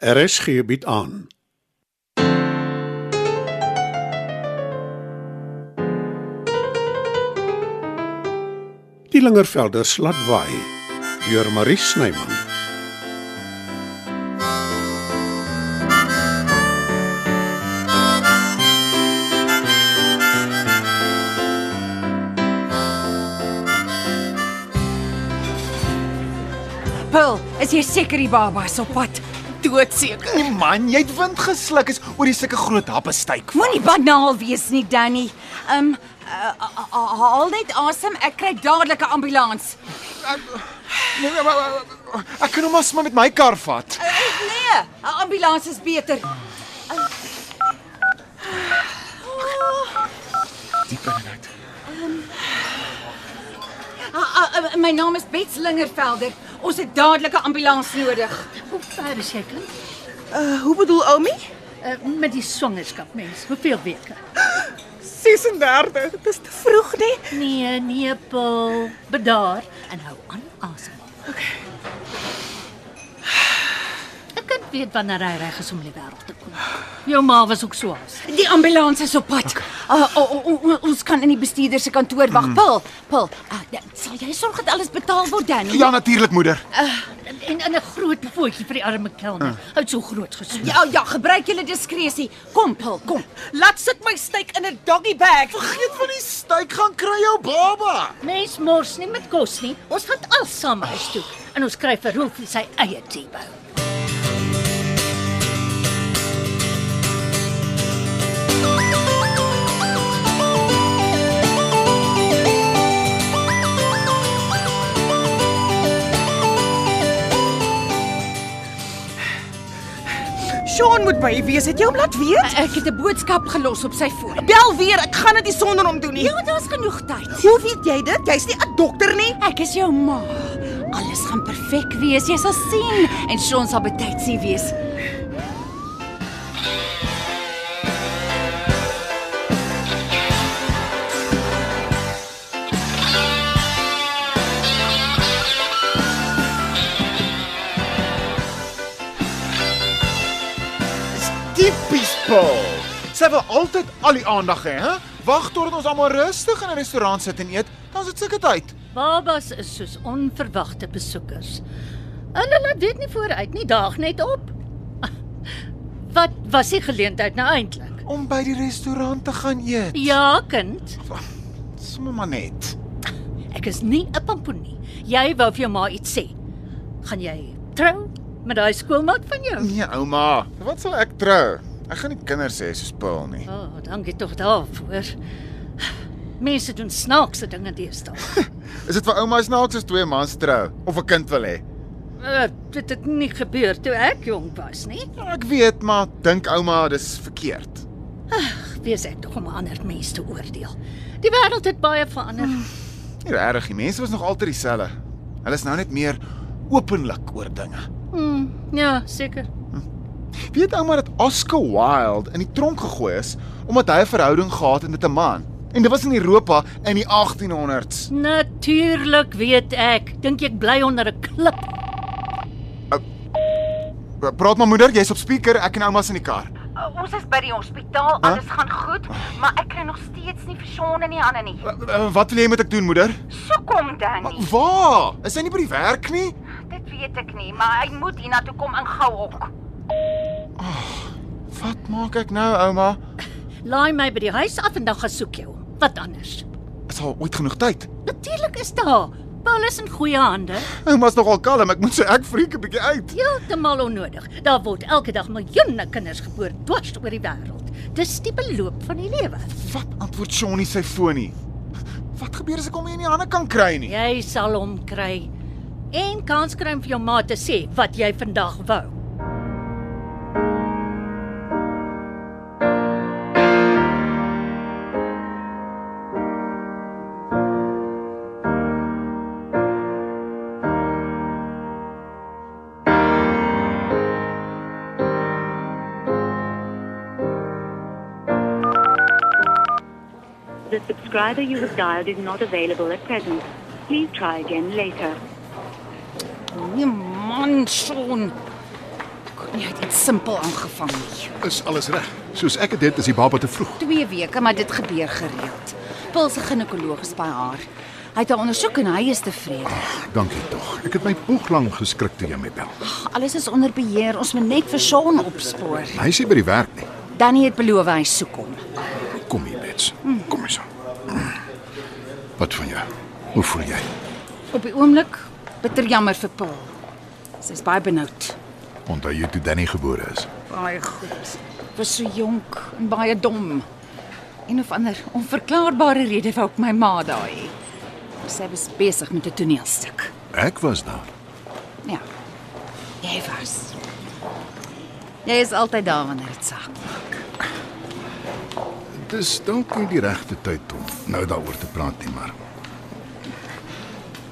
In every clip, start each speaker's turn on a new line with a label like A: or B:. A: RSG bied aan. Die Lingervelders laat waai deur Marie Snyman.
B: Pul, is jy seker die baba is op pad?
C: Doodseker.
D: Nee man, jy het wind gesluk is oor die sulke groot happe styk.
B: Moenie banaal wees nie, Danny. Ehm um, uh, uh, uh, haal net asem, ek kry dadelik 'n ambulans.
D: Nee, maar- maar- maar- Ek kan hom maar sommer met my kar vat.
B: Uh, nee, 'n ambulans is beter.
D: Diep in en uit.
B: Ehm, Uh, uh, uh, my naam is Bets Lingervelder. Ons het dadelik 'n ambulans nodig.
E: Hoe ver is jy klink?
C: Uh, hoe bedoel Oumi?
E: Uh, met die swangerskap mens, hoeveel weke?
C: 36. Dis te vroeg, né?
E: Nee, nee, Paul, bedaar en hou aan asem. Okay. Ek kan weet wanneer hy reg is om in die wêreld te kom. Jou ma was ook so haas.
B: Die ambulans is op pad. Uh, o, o, o, ons kan in die bestuurder se kantoor wag. Mm. Pul, Pul, uh, sal jy sorg dat alles betaal word, Danny?
D: Ja, natuurlik moeder.
E: En in 'n groot voetjie vir die arme
C: Ah.
E: kelner. Hy het so groot gesoek.
B: Ja, ja, gebruik julle diskresie. Kom, Pul, kom.
C: Laat sit my steek in 'n doggy bag.
D: Vergeet van die styk gaan kry jou baba.
E: Mens mors nie met kos nie. Ons vat al saam huis toe en ons kry vir Rolfie sy eie teebou.
C: Sean moet by wees. Het jy hom laat weet?
B: Ek het 'n boodskap gelos op sy foon.
C: Bel weer. Ek gaan dit nie sonder hom doen nie.
B: Ja, daar's genoeg tyd.
C: Hoe weet jy dit? Jy's nie 'n dokter nie.
B: Ek is jou ma. Alles gaan perfek wees, jy sal sien en Sean sal betyds hier wees.
D: Dis tipies Paul. Sy wil altyd al die aandag hê, hè? Wag totdat ons almal rustig in 'n restaurant sit en eet, dan is dit sulke tyd.
E: Babas is soos onverwagte besoekers. Hulle laat weet nie vooruit nie, daag net op. Wat was die geleentheid nou eintlik?
D: Om by die restaurant te gaan eet.
E: Ja, kind,
D: Sommige maar net.
E: ek is nie 'n pampoen nie. Jy wou vir jou ma iets sê. Gaan jy trou met daai skoolmaat van
B: Mm.
E: jou?
D: Nee, ouma. Wat sal ek trou? Ek gaan nie kinders hê soos Paul nie.
E: O, oh, dankie tog daarvoor. Mense doen snaakse dinge deesdae.
D: Is dit vir ouma snaaks as twee mans trou of 'n kind wil hê?
E: Uh, dit het nie gebeur toe ek jonk was nie.
D: Ja, ek weet, maar dink ouma dis verkeerd.
E: Wees ek tog om 'n ander mens te oordeel. Die wêreld het baie verander.
D: Nie regtig, die mense was nog altyd dieselfde. Hulle is nou net meer openlik oor dinge.
E: Mm, ja, seker.
D: Weet ouma dat Oscar Wilde in die tronk gegooi is omdat hy 'n verhouding gehad het met 'n man. En dit was in Europa in die 1800s.
E: Natuurlik weet ek. Dink jy ek bly onder 'n klip?
D: Pra- Praat maar moeder, jy's op speaker, ek en ouma's in die kar.
B: Uh, ons is by die hospitaal,
D: Huh? alles
B: gaan goed, maar ek kry nog steeds nie vir Sean in die hande nie.
D: Uh, uh, Wat wil jy moet ek doen, moeder?
B: So kom
D: Maar
B: Danny.
D: waar? Is hy nie by die werk nie?
B: Dit weet ek nie, maar hy moet hiernatoe kom in gou ook.
D: Wat maak ek nou, ouma?
E: Laai my by die huis af en dan gaan soek jou. Wat anders?
D: Is al ooit genoeg tyd?
E: Natuurlik is daar. Paul is in goeie hande.
D: Ouma's nogal kalm, ek moet sê ek freek 'n bietjie uit.
E: Heeltemal onnodig. Daar word elke dag miljoene kinders gebore dwars oor die wêreld. Dis die beloop van die lewe.
D: Wat antwoord Shawnee sy foon nie? Wat gebeur as ek hom nie in die hande kan kry nie?
E: Jy sal hom kry. En kans kry om vir jou ma te sê wat jy vandag wou.
F: The subscriber you have dialed is not available at present. Please try again later.
B: Nee man, Sean. Kon Jy het iets simpel aangevang nie.
G: Is alles reg? Soos ek dit is die baba te vroeg.
B: 2 weke, maar dit gebeur gereeld. Pil se ginekoloog is by haar. Hy het haar ondersoek en hy is tevrede.
H: Dankie tog. Ek het my poeg lank geskrik toe jy my bel.
B: Alles is onder beheer. Ons moet net vir Sean opspoor.
H: Hy is nie by die werk nie.
B: Danny het beloof hy soek hom.
H: Kom hier, Bets. Kom hier. saam. Wat van jou? Hoe voel jy?
B: Op die oomblik bitter jammer vir Pil. Sy's baie benoud.
H: Onthou jy toe Danny gebore is?
B: Baie goed. Was so jonk en baie dom. Een of ander onverklaarbare rede wou ek my ma daai. Sy was besig met 'n toneelstuk.
H: Ek was daar.
B: Ja. Jy was. Jy is altyd daar wanneer dit saak maak.
H: Dis dalk nie die regte tyd om nou daaroor te praat nie, maar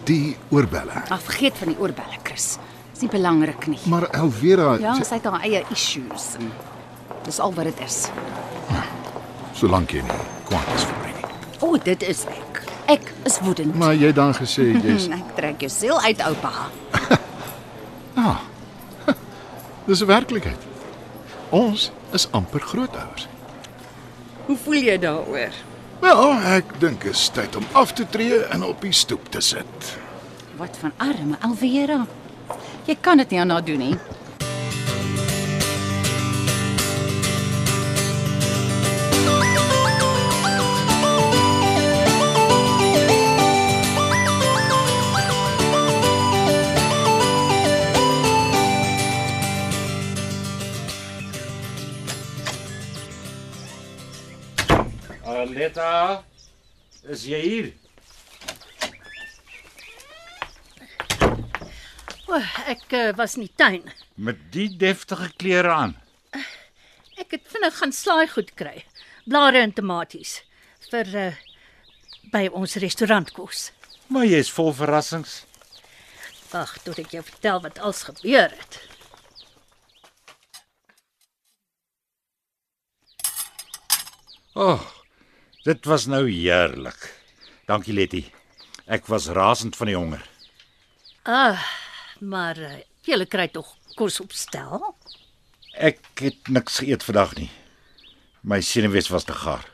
H: die oorbelle.
B: Maar vergeet van die oorbelle, Chris. Dis nie belangrik nie.
H: Maar Elvera,
B: Ja, sy het haar eie issues en dis al wat dit is.
H: solank jy nie kwaad is vir my nie.
B: O, oh, dit is ek. Ek is woedend.
H: Maar jy het dan gesê jy's
B: Hm, Ek trek jou siel uit, oupa.
H: Ah. Dis 'n werklikheid. Ons is amper grootouers.
B: Hoe voel jy daaroor?
H: Wel, ek dink dit is tyd om af te tree en op die stoep te sit.
B: Wat van arme Alvera? Jy kan dit nie aan haar doen nie.
D: Aletta, is jy hier?
E: O, ek uh, was in die tuin.
D: Met die deftige klere aan.
E: Ek het vinnig gaan slaai goed kry. Blare en tomaties vir uh, by ons restaurantkos.
D: Maar jy is vol verrassings.
E: Wag tot ek jou vertel wat als gebeur het.
D: O, oh, dit was nou heerlik. Dankie Letty. Ek was rasend van die honger.
E: Ah, maar uh, jy kry tog kos opstel.
D: Ek het niks geëet vandag nie. My senuwees was te gaar.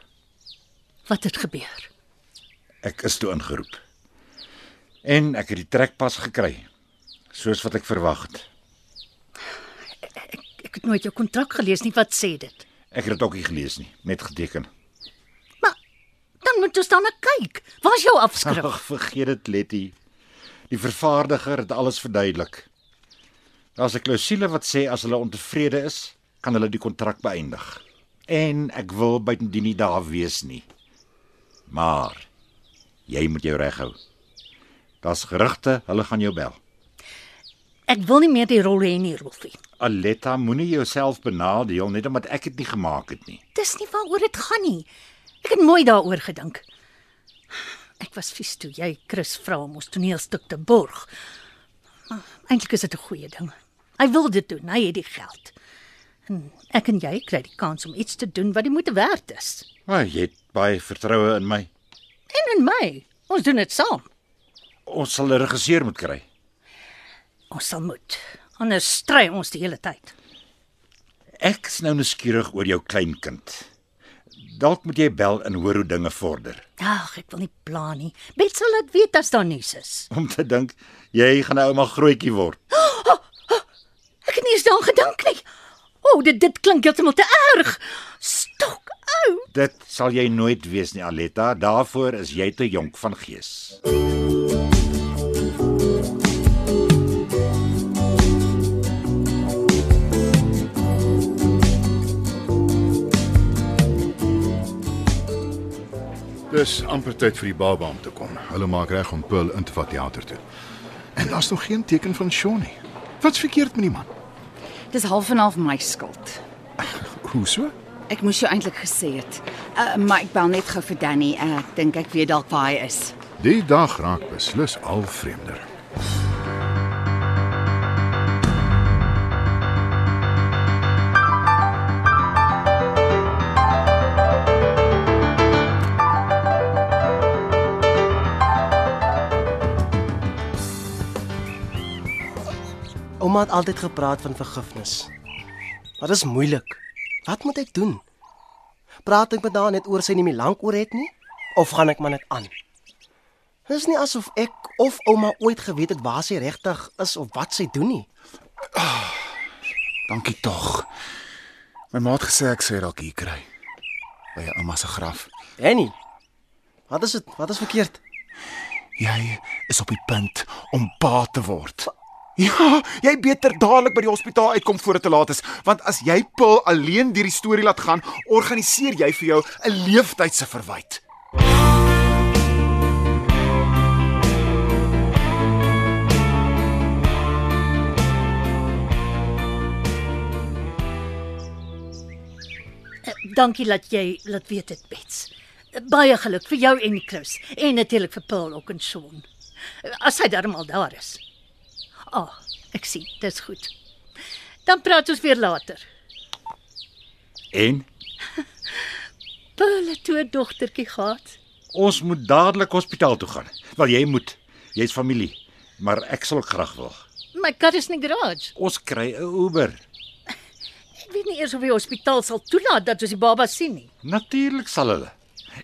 E: Wat het gebeur?
D: Ek is toe ingeroep. En ek het die trekpas gekry, soos wat ek verwag het.
E: Ek het nooit jou kontrak gelees nie. Wat sê dit?
D: Ek het dit ook nie gelees nie, net geteken.
E: Maar dan moet ons dan na kyk. Waar's jou afskrif?
D: Ag, vergeet dit Letty. Die vervaardiger het alles verduidelik. Daar's 'n klousule wat sê as hulle ontevrede is, kan hulle die kontrak beëindig. En ek wil buitendien nie daar wees nie. Maar jy moet jou reg hou. Daar's gerugte, hulle gaan jou bel.
E: Ek wil nie meer die rol hê nie, Rolfie.
D: Aletta, moenie jouself benadeel net omdat ek dit nie gemaak het nie.
E: Dis nie waaroor dit gaan nie. Ek het mooi daaroor gedink. Ek was vies toe jy Chris vra om ons toneelstuk te borg. Maar Eintlik is dit 'n goeie ding. Hy wil dit doen. Hy het die geld. En ek en jy kry die kans om iets te doen wat die moeite werd is.
D: Maar jy het baie vertroue in my.
E: En in my, ons doen dit saam.
D: Ons sal 'n regisseur moet kry.
E: Ons sal moet. Anders stry ons die hele tyd.
D: Ek is nou nuuskierig oor jou kleinkind. Dalk moet jy bel en hoor hoe dinge vorder.
E: Ag, ek wil nie pla nie. Bet sal dit weet as daar nuus is.
D: Om te dink jy gaan nou maar grootjie word.
E: Ek het nie eens daaraan gedink nie. O, oh, dit dit klink heeltemal te erg. Stok ou.
D: Dit sal jy nooit wees nie, Aletta. Daarvoor is jy te jonk van gees.
H: Dis amper tyd vir die baba om te kom. Hulle maak reg om Pearl in te vat teater toe. En daar's nog geen teken van Sean nie. Wat's verkeerd met die man?
B: Dis half en half my skuld.
H: Hoe so?
B: Ek moes jou eintlik gesê het. Uh, maar ek bel net gou vir Danny. Uh, ek dink ek weet dalk waar hy is.
H: Die dag raak beslis al vreemder.
I: Ouma het altyd gepraat van vergifnis. Wat is moeilik? Wat moet ek doen? Praat ek met haar net oor sy nie meer lank oor het nie of gaan ek maar net aan? Dis nie asof ek of ouma ooit geweet het waar sy regtig is of wat sy doen nie.
G: Dankie tog. My maat gesê ek sê dalk hier kry by jou ouma se graf.
I: Danny. Wat is dit? Wat is verkeerd?
G: Jy is op die punt om pa te word. Ja, jy beter dadelik by die hospitaal uitkom voor dit te laat is, want as jy pil alleen deur die storie laat gaan, organiseer jy vir jou 'n leeftydse verwyd.
E: Eh, Dankie dat jy laat weet dit, Bets. Eh, Baie geluk vir jou en die Chris en natuurlik vir Paul ook en Sean. Eh, As hy darmal daar is. Ah, oh, ek sien, dis goed. Dan praat ons weer later.
D: En
E: Paul het toe 'n dogtertjie gehad.
D: ons moet dadelik hospitaal toe gaan. Wel jy moet. Jy's familie, maar ek sal ook graag wil.
E: My kar is in die garage.
D: Ons kry 'n Uber.
E: Ek weet nie eers of die hospitaal sal toelaat dat ons die baba sien nie.
D: Natuurlik sal hulle.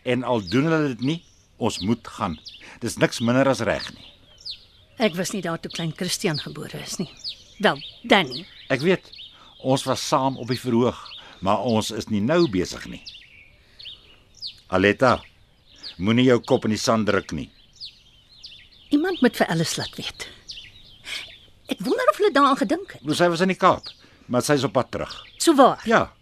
D: En al doen hulle dit nie, ons moet gaan. Dis niks minder as reg nie.
E: Ek was nie daar toe klein Christian gebore is nie. Wel, Danny.
D: Ek weet, ons was saam op die verhoog, maar ons is nie nou besig nie. Aletta, moenie jou kop in die sand druk nie.
E: Iemand moet vir alles laat weet. Ek wonder of hulle daaraan gedink het.
D: Ons sy was in die Kaap, maar sy is op pad terug.
E: Sou waar.
D: Ja.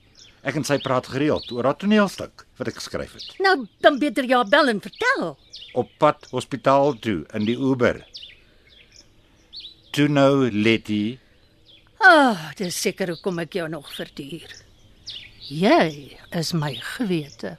D: Ek en sy praat gereeld oor haar toneelstuk wat ek geskryf het.
E: Nou dan beter ja bel en vertel.
D: Op pad hospitaal toe in die Uber. Toe nou Letty,
E: Ah, oh, dis seker hoekom ek jou nog verduur. Jy is my gewete.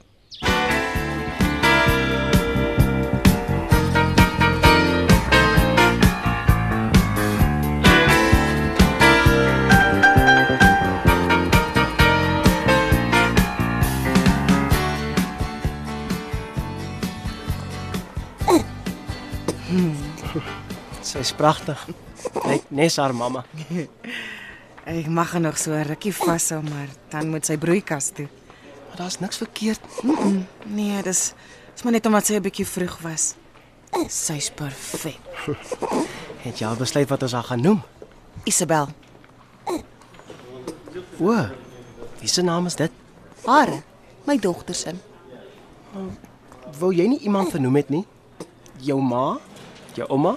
I: Sy's pragtig. Lyk nes haar mamma.
C: Ek mag haar nog so rukkie vashou, maar dan moet sy broeikas toe.
I: Maar daar's niks verkeerd.
C: Nee, dis is maar net omdat sy 'n bietjie vroeg was. Sy's perfek.
I: Het jy al besluit wat ons haar gaan noem?
C: Isabel,
I: O. Wie se naam is dit?
J: Haar, my dogter se.
I: Wou jy nie iemand vernoem het nie? Jou ma? Jou ouma?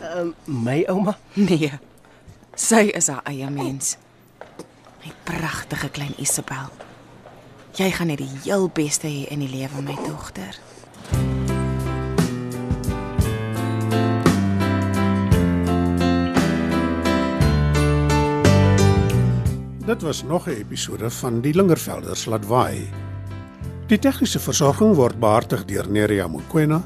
I: Ehm um, my ouma?
C: nee. Sy is haar eie mens. My pragtige klein Isabel. Jy gaan net die heel beste hê in die lewe, my dogter.
A: Dit was nog 'n episode van Die Lingervelders laat waai. Die tegniese versorging word behartig deur Neriya Mukwena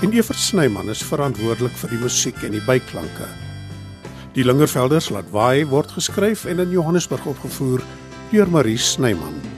A: en Evert Snyman is verantwoordelik vir die musiek en die byklanke. Die Lingervelders laat waai word geskryf en in Johannesburg opgevoer deur Marie Snyman.